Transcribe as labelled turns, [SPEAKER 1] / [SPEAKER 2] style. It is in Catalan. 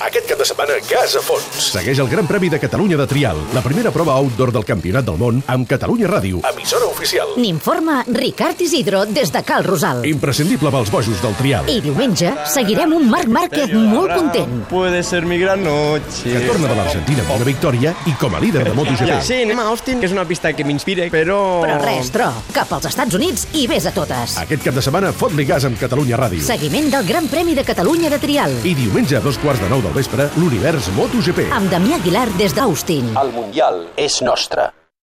[SPEAKER 1] Aquest cap de setmana, gas a fons.
[SPEAKER 2] Segueix el Gran Premi de Catalunya de Trial, la primera prova outdoor del Campionat del Món amb Catalunya Ràdio.
[SPEAKER 1] Emissora oficial.
[SPEAKER 3] N'informa Ricard Isidro des de Cal Rosal.
[SPEAKER 2] Imprescindible pels bojos del Trial,
[SPEAKER 3] I diumenge seguirem un Marc Márquez molt content.
[SPEAKER 4] Puede ser mi gran noche.
[SPEAKER 2] que torna de l'Argentina amb una victòria i com a líder de MotoGP.
[SPEAKER 4] Sí, anem a Austin, que és una pista que m'inspira, però...
[SPEAKER 3] Però res, tro, cap als Estats Units i vés a totes.
[SPEAKER 2] Aquest cap de setmana, fot-li gas amb Catalunya Ràdio.
[SPEAKER 3] Seguiment del Gran Premi de Catalunya de Trial.
[SPEAKER 2] I diumenge a dos quarts de nou del vespre, l'univers MotoGP.
[SPEAKER 3] Amb Damià Aguilar des d'Austin.
[SPEAKER 5] El Mundial és nostre.